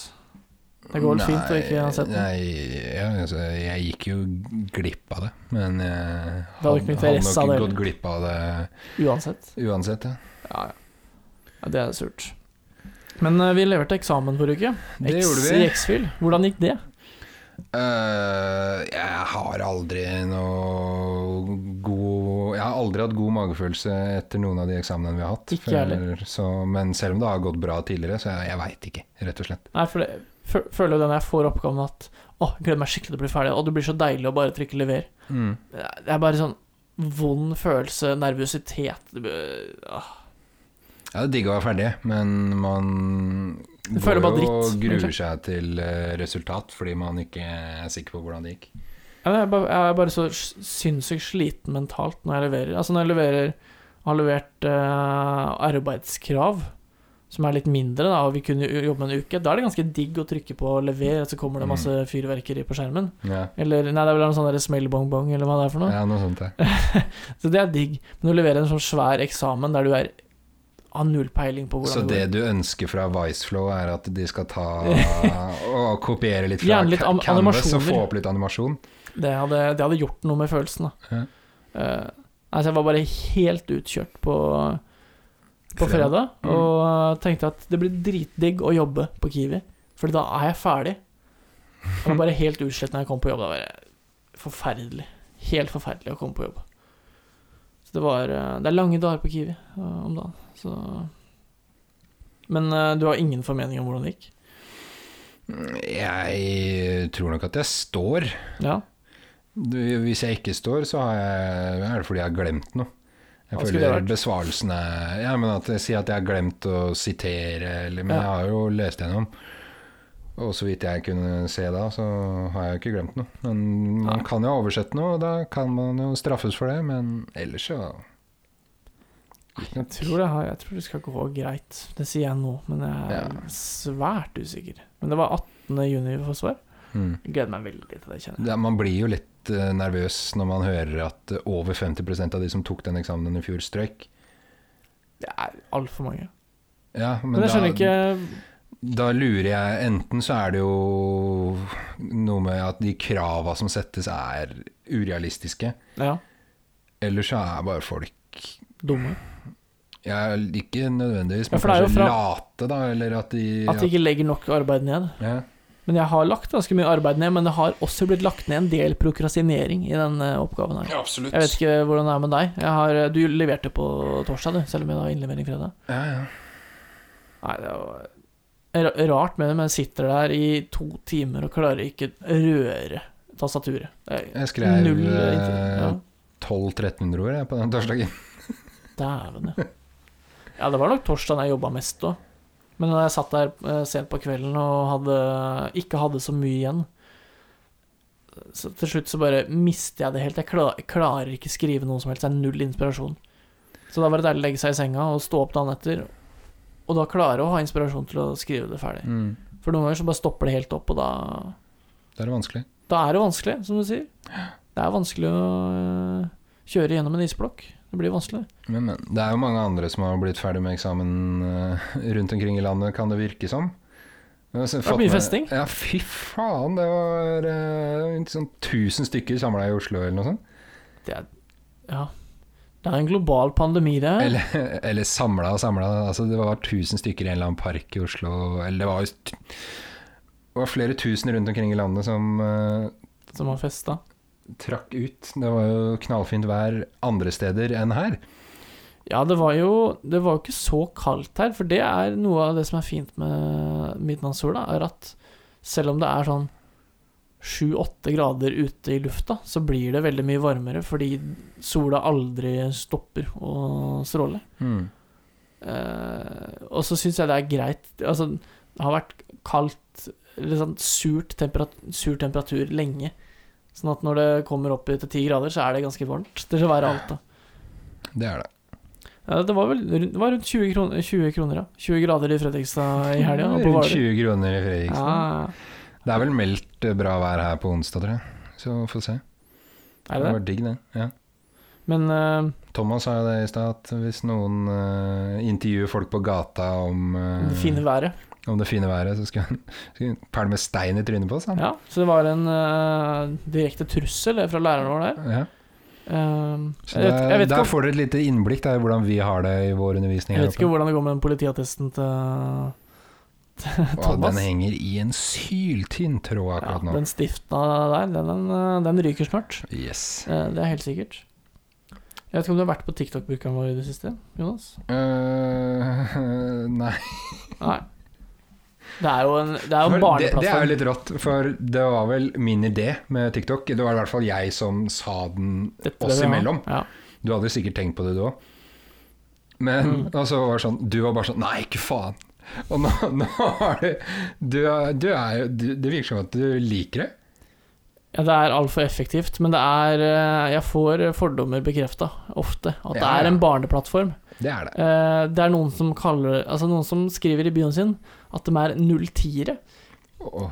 Det går vel fint å ikke ha sett den? Nei, ja, altså, jeg gikk jo glipp av det, men jeg Det hadde ikke noe interesse av nok det, gått glipp av det Uansett. uansett. Ja. Ja, ja. ja det er surt. Men eh, vi leverte eksamen forrige uke. Det X- gjorde vi. I X-Fil. Hvordan gikk det? Eh, jeg har aldri noe god Jeg har aldri hatt god magefølelse etter noen av de eksamene vi har hatt. Ikke jeg heller. så, men selv om det har gått bra tidligere, så jeg, jeg veit ikke, rett og slett. Nei, for det, fø- føler jo det når jeg får oppgaven at Å, jeg gleder meg skikkelig til å bli ferdig. Og det blir så deilig å bare trykke 'lever'. Det er bare sånn vond følelse, nervøsitet det bør- ah. Ja, det er digg å være ferdig, men man Du føler bare og dritt, gruer egentlig. seg til eh, resultat fordi man ikke er sikker på hvordan det gikk. Ja, men Jeg er bare- jeg er bare så s- sinnssykt sliten mentalt når jeg leverer. Altså, når jeg leverer har levert eh, arbeidskrav, som er litt mindre, da, og vi kunne jo jobbe en uke, da er det ganske digg å trykke på 'lever', og så kommer det Mm. masse fyrverkeri på skjermen. Ja, Eller nei, det er vel en sånn der smellbongbong, eller hva det er for noe. ja noe sånt. Ja. Så det er digg. Men å levere en sånn svær eksamen der du er har null peiling på hvordan Så det det går. du ønsker fra Viceflow, er at de skal ta og kopiere litt fra Gjerne litt Ca- am- Canvas og animasjoner. få opp litt animasjon? Det hadde, det hadde gjort noe med følelsen, da. Ja. Eh, altså, jeg var bare helt utkjørt på, på Fredag. Mm. fredag, og eh, tenkte at det blir dritdigg å jobbe på Kiwi, Fordi da er jeg ferdig. Jeg var bare helt utslett når jeg kom på jobb. Det var bare forferdelig. Helt forferdelig å komme på jobb. Så det var eh, Det er lange dager på Kiwi eh, om dagen, så Men eh, du har ingen formening om hvordan det gikk? Jeg tror nok at jeg står. Ja? Du, Hvis jeg ikke står, så har jeg, er det fordi jeg har glemt noe. Jeg Hva skulle det føler vært? besvarelsen er ja, men at jeg sier at jeg har glemt å sitere, eller, men Ja. jeg har jo lest gjennom. Og så vidt jeg kunne se da, så har jeg jo ikke glemt noe. Men man Nei. kan jo oversette noe, og da kan man jo straffes for det, men ellers så Jeg tror, det har, jeg tror det skal gå greit. Det sier jeg nå, men jeg er Ja. svært usikker. Men det var 18. juni vi får svar. mm. Jeg gleder meg veldig til det, kjenner jeg. det, Man blir jo litt eh, nervøs når man hører at eh, over 50 av de som tok den eksamenen i fjor, strøyk. Det er altfor mange. Ja, men, Men jeg skjønner da, ikke Da lurer jeg Enten så er det jo noe med at de krava som settes, er urealistiske. Ja, Eller så er bare folk dumme. ja, Ikke nødvendigvis, Ja, men for det er jo kanskje fra- late, da. Eller at de At de ikke legger nok arbeid ned. ja, Men jeg har lagt ganske mye arbeid ned, men det har også blitt lagt ned en del prokrastinering i denne oppgaven her. absolutt. Jeg vet ikke hvordan det er med deg. Jeg har, du leverte på torsdag, du, selv om jeg har innlevering fredag. Ja, ja. Nei, det var ra- rart med det, men jeg sitter der i to timer og klarer ikke røre tastaturet. Det er Jeg skrev eh, null inter- ja. 1200-1300 ord jeg, på den torsdagen. Dæven, ja. Ja, det var nok torsdagen jeg jobba mest òg. Men når jeg satt der eh, sent på kvelden og hadde, ikke hadde så mye igjen Så til slutt så bare mister jeg det helt. Jeg klarer, klarer ikke skrive noe som helst. Det er null inspirasjon. Så da var det deilig å legge seg i senga og stå opp dagen etter, og da klare å ha inspirasjon til å skrive det ferdig. Mm. For noen ganger så bare stopper det helt opp, og da Det er vanskelig. da er det vanskelig, som du sier. Det er vanskelig å øh, kjøre gjennom en isblokk. Det blir vanskelig. Men, men. Det er jo mange andre som har blitt ferdig med eksamen eh, rundt omkring i landet, kan det virke som. Det var mye festing. Ja, fy faen. Det var eh, sånn 1000 stykker samla i Oslo eller noe sånt. Det er, ja. det er en global pandemi, det her. Eller, eller samla og samla. Altså, det var 1000 stykker i en eller annen park i Oslo. Eller det var jo t- det var flere tusen rundt omkring i landet som eh, Som har festa. trakk ut. Det var jo knallfint vær andre steder enn her. Ja, det var jo Det var jo ikke så kaldt her, for det er noe av det som er fint med midnattssola, er at selv om det er sånn sju-åtte grader ute i lufta, så blir det veldig mye varmere fordi sola aldri stopper å stråle. Hmm. Eh, og så syns jeg det er greit Altså, det har vært kaldt Eller sånn surt temperat sur temperatur lenge. Sånn at når det kommer opp til ti grader, så er det ganske varmt. Det skal være alt, da. Det er det. Ja, det var vel rundt- det var rundt 20 kroner, 20 kroner ja. 20 grader i Fredrikstad i helga. og på Rundt Hvaler. 20 kroner i Fredrikstad. Ja, Det er vel meldt eh, bra vær her på onsdag, tror jeg. Så vi får se. er det Det det? var digg, det. Ja. Men eh, Thomas sa jo det i stad, at hvis noen eh, intervjuer folk på gata om, eh, det fine været. om det fine været, så skal han skal han pælme stein i trynet på oss. Han. Ja, så det var en eh, direkte trussel eh, fra læreren vår der. Ja. Eh, Så jeg vet, jeg der, vet ikke der om- får dere et lite innblikk da, i hvordan vi har det i vår undervisning. jeg her vet ikke oppe. hvordan det går med den politiattesten til Og Thomas. Den henger i en syltynn Ja, tråd akkurat nå. den stifta der, den, den, den ryker snart. Yes. Eh, Det er helt sikkert. Jeg vet ikke om du har vært på TikTok-brukeren vår i det siste, Jonas? Eh, nei. Nei. Det er jo en, det er jo en For det, det er jo barneplattform. litt rått, for det var vel min idé med TikTok. Det var i hvert fall jeg som sa den Dette oss vil jeg ha. imellom. Ja. Du hadde sikkert tenkt på det, du òg. Men Mm. og så var det sånn, du var bare sånn Nei, ikke faen! Og nå, nå har du, du, er- du er jo du, Det virker som at du liker det. Ja, det er altfor effektivt, men det er eh, Jeg får fordommer bekrefta ofte. At det Ja, ja. er en barneplattform. Det er det. Eh, Det er noen som kaller Altså noen som skriver i bioen sin at de er null tiere. Åh.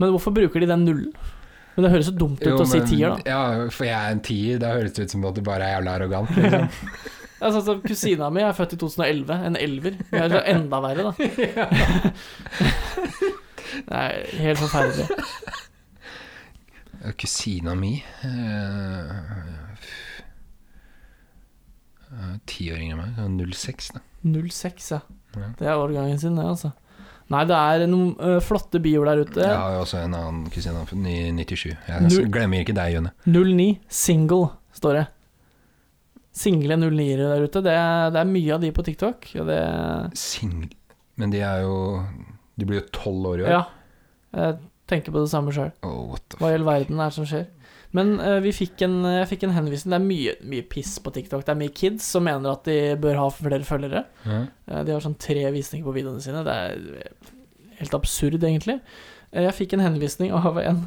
Men hvorfor bruker de den nullen? Men det høres så dumt ut Jo, å si men- tier, da. Ja, for jeg er en tier. Da høres det ut som at du bare er jævla arrogant. Liksom. Ja, sånn som kusina mi er født i 2011, en elver. Det er jo enda verre, da. Det er helt forferdelig. Kusina mi eh, f- eh, Tiåring av meg. hun er 06, da. 06, ja. Ja. Det er årgangen sin, det, altså. Nei, det er noen ø, flotte bioer der ute. Jeg har jo også en annen kusine han er i 97. Jeg Null- glemmer ikke deg, Jønne. 09, single, står det. Single 09-ere der ute. Det, det er mye av de på TikTok. Og det Singel Men de er jo De blir jo tolv år i år. Ja. Jeg tenker på det samme sjøl. Oh, what the f Hva i all verden er det som skjer? Men eh, vi fikk en, jeg fikk en henvisning. Det er mye, mye piss på TikTok. Det er mye kids som mener at de bør ha flere følgere. Ja. Eh, De har sånn tre visninger på videoene sine. Det er eh, helt absurd, egentlig. Eh, Jeg fikk en henvisning av en,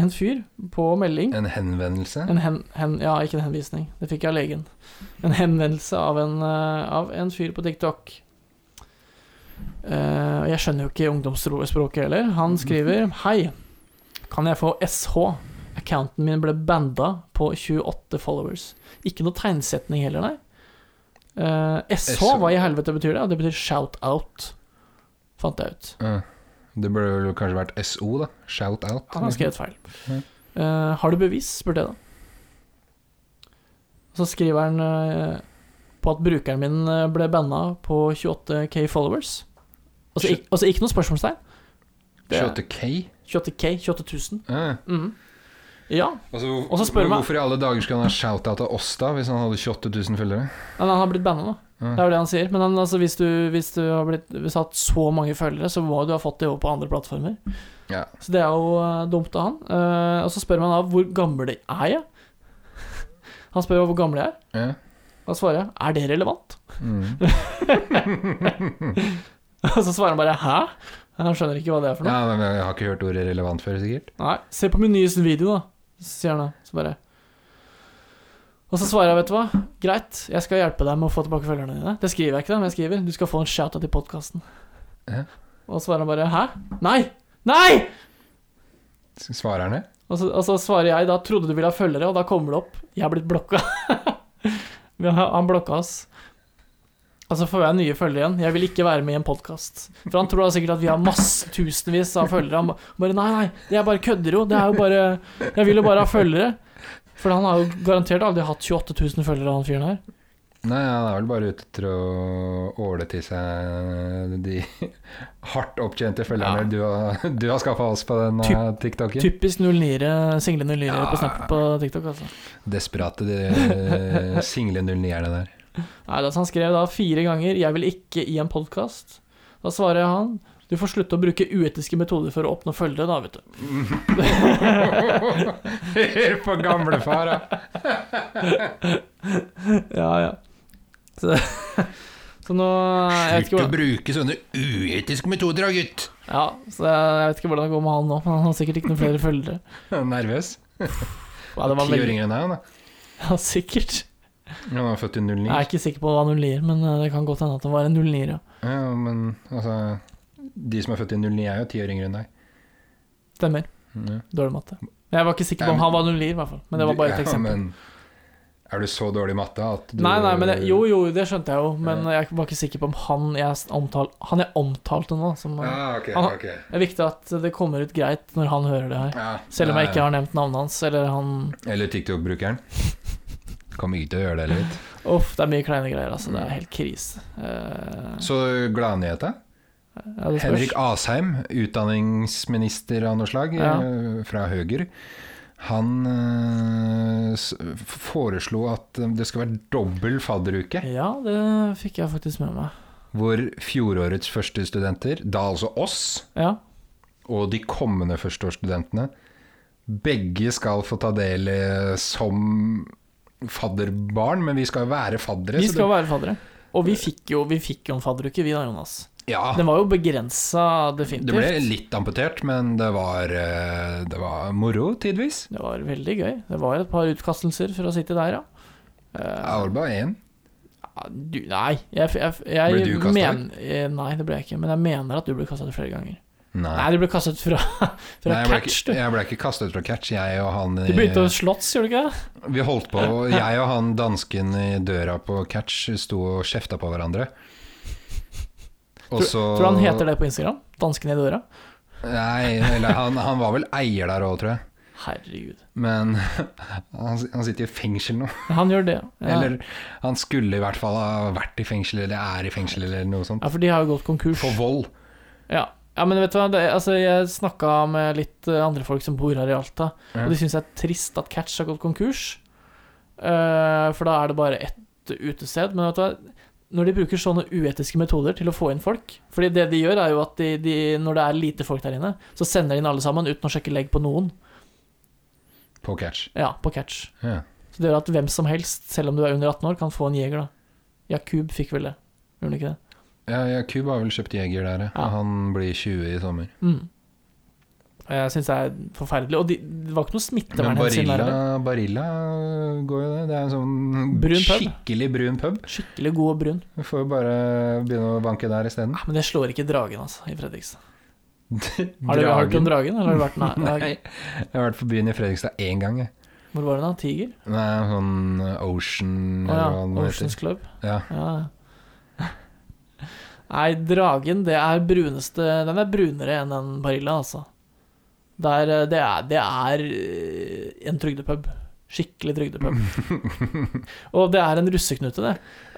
en fyr på melding. En henvendelse? En hen, hen, ja, ikke en henvisning. Det fikk jeg av legen. En henvendelse av en, eh, av en fyr på TikTok. Eh, og jeg skjønner jo ikke ungdomsspråket heller. Han skriver Hei, kan jeg få SH? Accounten min ble banda på 28 followers. Ikke noe tegnsetning heller, nei. Eh, SH, SH. hva i helvete betyr det? Det betyr shout out, fant jeg ut. Ja. Det burde vel kanskje vært SO, da. Shout out. Han har skrevet feil. Ja. Eh, har du bevis? spurte jeg da. Så skriver han eh, på at brukeren min eh, ble banna på 28K followers. Altså, ikk- altså ikke noe spørsmålstegn. liksom. Det er 28K? 28K, 28 000. Ja. Mhm. Ja. Altså, Og så spør men meg- hvorfor i alle dager skal han ha shout-out av oss, da, hvis han hadde 28 000 følgere? Men han har blitt banna nå. Ja. Det er jo det han sier. Men han, altså, hvis, du, hvis du har blitt hvis du har hatt så mange følgere, så må du ha fått det over på andre plattformer. Ja. Så det er jo eh, dumt av han. Eh, og så spør man da hvor gammel er jeg? Han spør jo hvor gammel jeg er. Ja. Mm. Da svarer jeg Er det relevant? Og så svarer han bare hæ? Han skjønner ikke hva det er for noe. Ja, men Jeg har ikke hørt ordet relevant før, sikkert. Nei, se på min nyeste video, da, sier han da. Så bare Og så svarer jeg, vet du hva, greit, jeg skal hjelpe deg med å få tilbake følgerne dine. Det skriver jeg ikke, da, men jeg skriver du skal få en shout-out i podkasten. Ja. Og så svarer han bare hæ? Nei! Nei! Svarer han det? Og så, og så svarer jeg da trodde du ville ha følgere, og da kommer det opp jeg er blitt blokka. Vi har- han blokka oss. Og så får jeg nye følgere igjen. Jeg vil ikke være med i en podkast. For han tror da sikkert at vi har masse tusenvis av følgere. Han ba- bare nei, nei, jeg bare kødder jo. Det er jo bare Jeg vil jo bare ha følgere. For han har jo garantert aldri hatt 28 000 følgere, han fyren her. Nei, han er vel bare ute etter å åle til seg de hardt opptjente Ja. følgerne du har, du har skaffa oss på den Typ- eh, TikToken. Typisk 09-ere, single 09-ere Ja. på Snap på TikTok, altså. Desperate de, eh, single 09-erne der. Nei, da, så han skrev da fire ganger 'Jeg vil ikke i en podkast'. Da svarer jeg han 'Du får slutte å bruke uetiske metoder for å oppnå følgere', da, vet du. Hør på gamlefar, da. Ja, ja. Så, så nå jeg vet, ikke hvordan, bruke sånne uetiske metoder, da, gutt. ja, så jeg, jeg vet ikke hvordan det går med han nå, men han har sikkert ikke noen flere følgere. Nervøs. Ja, det var Ti år veldig, yngre enn deg, da. ja, sikkert. Han var født i Jeg 09. er ikke sikker på hva 09-er, men eh, det kan godt hende at det var en 09-er, ja. Ja, men altså De som er født i 09, er jo ti år yngre enn deg. Stemmer. Ja. Dårlig matte. Jeg var ikke sikker på om Nei, han var 09-er, i hvert fall. Men det var bare et Ja, eksempel. men er du så dårlig i matte at du Nei, nei, men jeg, jo, jo, det skjønte jeg jo, men jeg var ikke sikker på om han jeg, omtal, han jeg omtalte nå som Ja, Ah, ok, Han- ok. Det er viktig at det kommer ut greit når han hører det her. Ja, Selv om jeg ja, ikke har nevnt navnet hans, eller han Eller TikTok-brukeren. Kommer ikke til å gjøre det heller. vet Uff, det er mye kleine greier, altså. Mm. Det er helt krise. Eh, du. Så gladnyheta. ja, det spørs. Henrik Asheim, utdanningsminister av noe slag, Ja. eh, fra Høyre, han eh, s- foreslo at eh, det skal være dobbel fadderuke, Ja, det fikk jeg faktisk med meg. hvor fjorårets første studenter, da altså oss, Ja. og de kommende førsteårsstudentene. Begge skal få ta del eh, som fadderbarn, men vi skal jo være faddere. Vi så skal være faddere. Og vi fikk jo, vi fikk jo en fadderuke, vi da, Jonas. det, ja, Den var jo begrensa, Ah. det ble definitivt. litt amputert, men det var, eh, det var moro tidvis. Det var veldig gøy. Det var et par utkastelser for å sitte der, ja. Eh, Jeg var bare én. Ja, Du, nei, jeg, jeg, jeg Ble du kastet? men- eh, Nei, det ble jeg ikke, men jeg mener at du ble kastet flere ganger. Nei. Nei, du ble kastet fra, fra Nei, jeg, ble catch, ikke, du. jeg ble ikke kastet fra catch, jeg og han Du begynte å eh, slåss, gjorde du ikke det? Vi holdt på, jeg og han dansken i døra på catch sto og kjefta på hverandre. Og så Tror du han heter det på Instagram? Dansken i døra? Nei, eller han, han var vel eier der òg, tror jeg. Herregud. Men han, han sitter i fengsel nå. Han gjør det, ja. Eller han skulle i hvert fall ha vært i fengsel, eller er i fengsel, eller noe sånt. ja. For de har jo gått konkurs. For vold. Ja. ja, men vet du hva, det, altså, jeg snakka med litt eh, andre folk som bor her i Alta, Ja. og de syns det er trist at Catch har gått konkurs. Eh, for da er det bare ett utested. Men vet du hva, når de bruker sånne uetiske metoder til å få inn folk Fordi det de gjør, er jo at de, de, når det er lite folk der inne, så sender de inn alle sammen uten å sjekke legg på noen. På catch. Ja, på Catch. Ja. Så det gjør at hvem som helst, selv om du er under 18 år, kan få en jeger, da. Jakub fikk vel det. Gjorde han ikke det? Ja, ja, Kub har vel kjøpt jeger der, ja. Ja. Han blir 20 i sommer. Mm. Eh, Jeg syns det er forferdelig. Og de, det var ikke noe Men smittevernhensyn der. eller? Barilla, Barilla går jo det. Det er en sånn Brun pub. skikkelig brun pub. Skikkelig god og brun. Du får jo bare begynne å banke der isteden. Ah, Men det slår ikke dragen, altså, i Fredrikstad. Har du hørt om Dragen. dragen? Eller har du vært Nei. Nei, jeg har vært på byen i Fredrikstad én gang, jeg. Hvor var det da? Tiger? Nei, sånn Ocean Å eller ja. hva den heter. Oceans Club. Ja. Ja. Nei, dragen, det er bruneste Den er brunere enn en Barilla, altså. Det er, eh, det er, det er eh, en trygdepub. Skikkelig trygdepub. og det er en russeknute, det.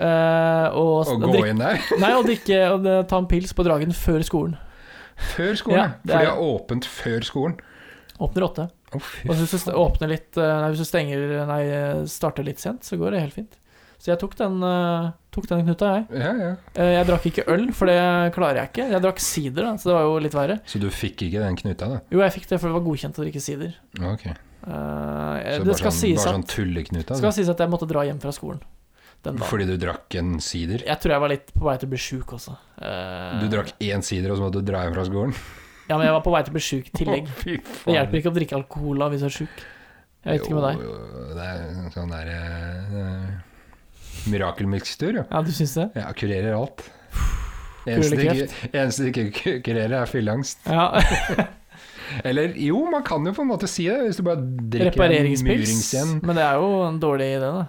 Eh, og, Å og gå drikke- inn der? Nei, og drikke og det- ta en pils på Dragen før skolen. Før skolen, Ja, ja. det For de er- har åpent før skolen. Åpner åtte. Å, fy Og hvis du st- åpner litt eh, Nei, hvis du stenger Nei, eh, starter litt sent, så går det helt fint. Så jeg tok den, eh, tok den knuta, jeg. Ja, ja. Eh, Jeg drakk ikke øl, for det klarer jeg ikke. Jeg drakk sider, da, så det var jo litt verre. Så du fikk ikke den knuta, da? Jo, jeg fikk det, for det var godkjent å drikke sider. Ok. Eh, Så det bare skal sånn, sies bare at sånn tulleknuta? skal sies at jeg måtte dra hjem fra skolen. den dagen. Fordi du drakk en sider? Jeg tror jeg var litt på vei til å bli sjuk også. Eh, Du drakk én sider, og så måtte du dra hjem fra skolen? Ja, men jeg var på vei til å bli sjuk i tillegg. Å, fy Det hjelper ikke å drikke alkohol da hvis du er sjuk. Jeg vet ikke med deg. Jo, jo, det er en sånn der uh, mirakelmikstur, jo. Ja, du syns det? Ja, kurerer alt. Eneste det ikke- eneste det ikke ku- kurerer, er fylleangst. Ja. Eller jo, man kan jo på en måte si det, hvis du bare drikker en murings Repareringspils. igjen. Men det er jo en dårlig idé, da.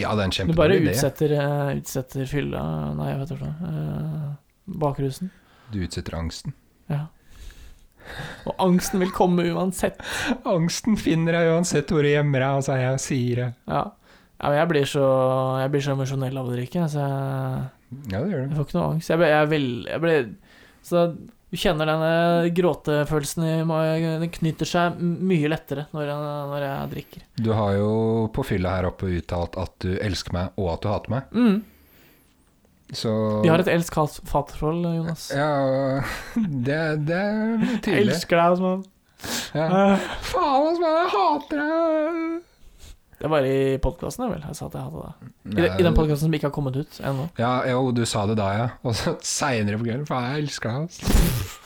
Ja, det er en Du bare kjempedårlig idé. utsetter, eh, utsetter fylla Nei, jeg vet ikke hva. eh, Bakrusen. Du utsetter angsten. Ja. Og angsten vil komme uansett. Angsten finner deg uansett hvor du gjemmer deg, altså jeg sier det. Ja. ja men jeg blir så Jeg blir så emosjonell av å drikke, så jeg, Ja, det gjør jeg det. får ikke noe angst. Jeg ble, jeg vil, jeg ble Så du kjenner denne gråtefølelsen i meg Den knytter seg m- mye lettere når jeg, når jeg drikker. Du har jo på fylla her oppe uttalt at du elsker meg, og at du hater meg. Mm. Så Vi har et elsk-hat-forhold, Jonas. Ja, det, det er Jeg Eh, tydelig. elsker deg, altså. Ja. Faen, altså, jeg hater deg! Det var i podkasten, vel. Jeg sa at jeg hadde det. I, de- I den podkasten som ikke har kommet ut ennå. Ja, jo, du sa det da, ja. Og så seinere på kvelden. Faen, jeg elsker deg, altså.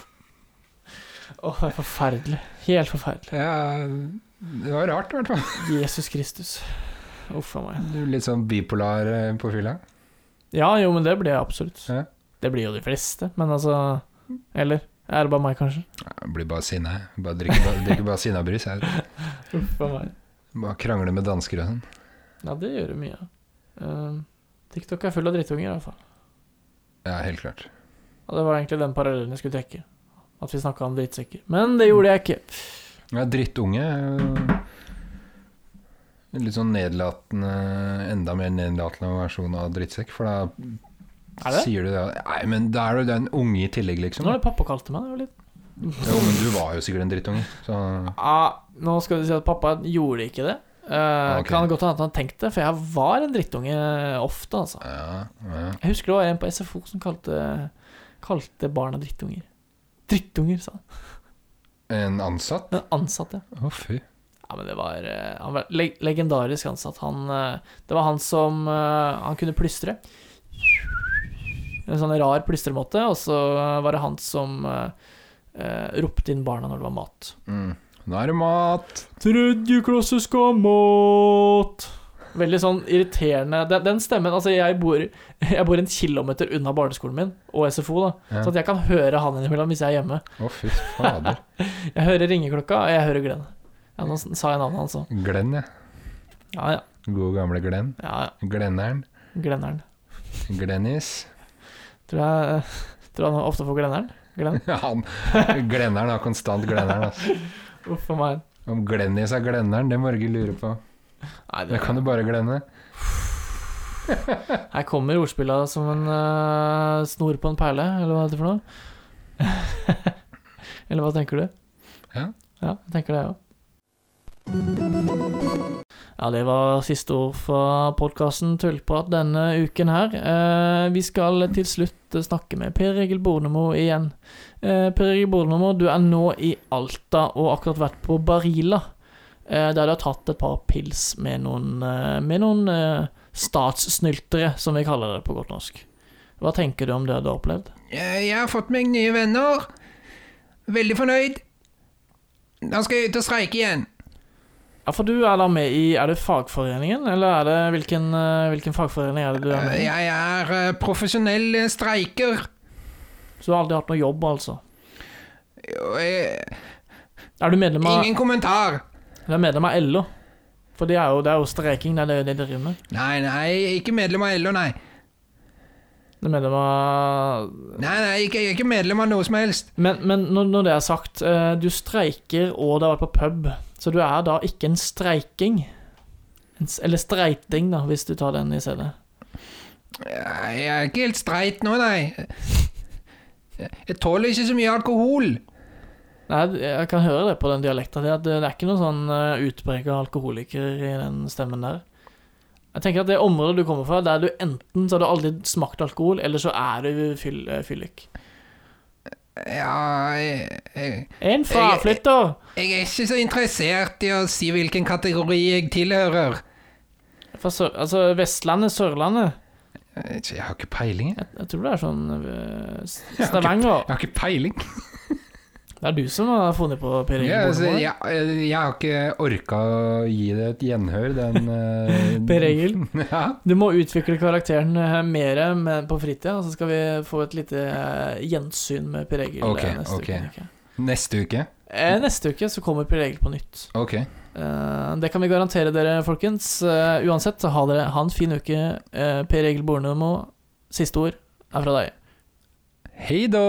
Åh, det er forferdelig. Helt forferdelig. Ja, det var rart, i hvert fall. Jesus Kristus. Uff a meg. Du er Litt sånn bipolar eh, på fylla. Ja, jo, men det blir jeg absolutt. Ja. Det blir jo de fleste, men altså Eller? Er det bare meg, kanskje? Ja, jeg Blir bare sinna, jeg. Bare drikker bare, drikker bare sinnabrus. jeg. Uff a meg. Bare krangler med dansker og sånn. Ja, det gjør det mye. Eh, TikTok er full av drittunger, i hvert fall. Ja, helt klart. Og det var egentlig den parallellen jeg skulle trekke. At vi snakka om drittsekker. Men det gjorde jeg ikke. Ja, drittunge. eh, Litt sånn nedlatende, enda mer nedlatende versjon av drittsekk. For da Er det? sier du det. Nei, men da er du den unge i tillegg, liksom. Nå har det pappa kalte meg det. Litt. Jo, men du var jo sikkert en drittunge. Så Ja, nå skal du si at pappa gjorde ikke det. Eh, Ok. Kan godt hende at han tenkte det, for jeg var en drittunge ofte, altså. ja, ja. Jeg husker det var en på SFO som kalte, kalte barna drittunger. Drittunger, sa han. En ansatt? Men ansatt, ja. Å, fy. Ja, men det var eh, Han var leg legendarisk ansatt. Han eh, Det var han som eh, Han kunne plystre. En sånn rar plystremåte, og så var det han som eh, eh, ropte inn barna når det var mat. Mm. Nå er det mat. Tredje klasse skal ha mat. Veldig sånn irriterende Den, den stemmen Altså, jeg bor, jeg bor en kilometer unna barneskolen min og SFO, da. Ja. Så at jeg kan høre han innimellom hvis jeg er hjemme. Å, fy fader. Jeg hører ringeklokka, og jeg hører Glenn. Ja, nå sa jeg navnet hans òg. Glenn, ja. Ja, ja. God gamle Glenn. ja, Glenneren. ja. Glenneren. Glennis. Tror jeg, tror han ofte får Glenneren. Glenn. Han, glenneren har konstant Glenneren. Altså. Uff a meg. Om Glennis er Glenneren, det må Norge lure på. Nei, Det det, kan du bare glemme. her kommer ordspilla som en eh, snor på en perle, eller hva er det for noe? eller hva tenker du? Ja. Ja, jeg tenker det, jeg òg. Ja, det var siste ord fra podkasten Tullprat denne uken her. Eh, vi skal til slutt snakke med Per Egil Bornemo igjen. Eh, per Egil Bornemo, du er nå i Alta og akkurat vært på Barila. Eh, der du har tatt et par pils med noen, eh, med noen eh, statssnyltere, som vi kaller det på godt norsk. Hva tenker du om det du har opplevd? Jeg jeg har fått meg nye venner. Veldig fornøyd. Da skal jeg ut og streike igjen. Ja, for du er da med i Er det fagforeningen, eller er det hvilken, eh, hvilken fagforening er det du er med i? Jeg er eh, profesjonell eh, streiker. Så du har aldri hatt noe jobb, altså? Jo, jeg- Er du medlem av, Ingen kommentar. du er medlem av LO? For det er jo, det er jo streiking, det er det de driver med. Nei, nei, ikke medlem av LO, nei. Du er medlem av Nei, nei, ikke, jeg er ikke medlem av noe som helst. Men, men når, når det er sagt, eh, du streiker og du har vært på pub, så du er da ikke en streiking? En s- Eller streiting, da, hvis du tar den i stedet. Jeg er ikke helt streit nå, nei. Jeg tåler ikke så mye alkohol. Nei, jeg kan høre det på den dialekta di, at det det er ikke noen sånn eh, utprega alkoholiker i den stemmen der. Jeg tenker at det området du kommer fra, der du enten så har du aldri smakt alkohol, eller så er du fyll, eh, fyllik. Ja, jeg, jeg, En fraflytter! jeg er ikke så interessert i å si hvilken kategori jeg tilhører. Fra Sør altså Vestlandet, Sørlandet. Jeg jeg har ikke peiling, jeg. Jeg, jeg tror det er sånn eh, S- Ja, ok. Stavanger. Jeg har ikke peiling. Det er du som har funnet på Per Ja, Inge altså, Bornemoen. jeg, jeg, jeg har ikke orka å gi det et gjenhør, den eh, Per Egil? Ja. Du må utvikle karakteren eh, mer med- på fritida, og så skal vi få et lite eh, gjensyn med Per Egil eh, Ok, neste ok. uke. tenker jeg. Neste uke? Eh, Neste uke så kommer Per Egil på nytt. Ok. Eh, det kan vi garantere dere, folkens. Eh, uansett, ha, dere, ha en fin uke. Eh, per Egil Bornemo, siste ord er fra deg. Hei da!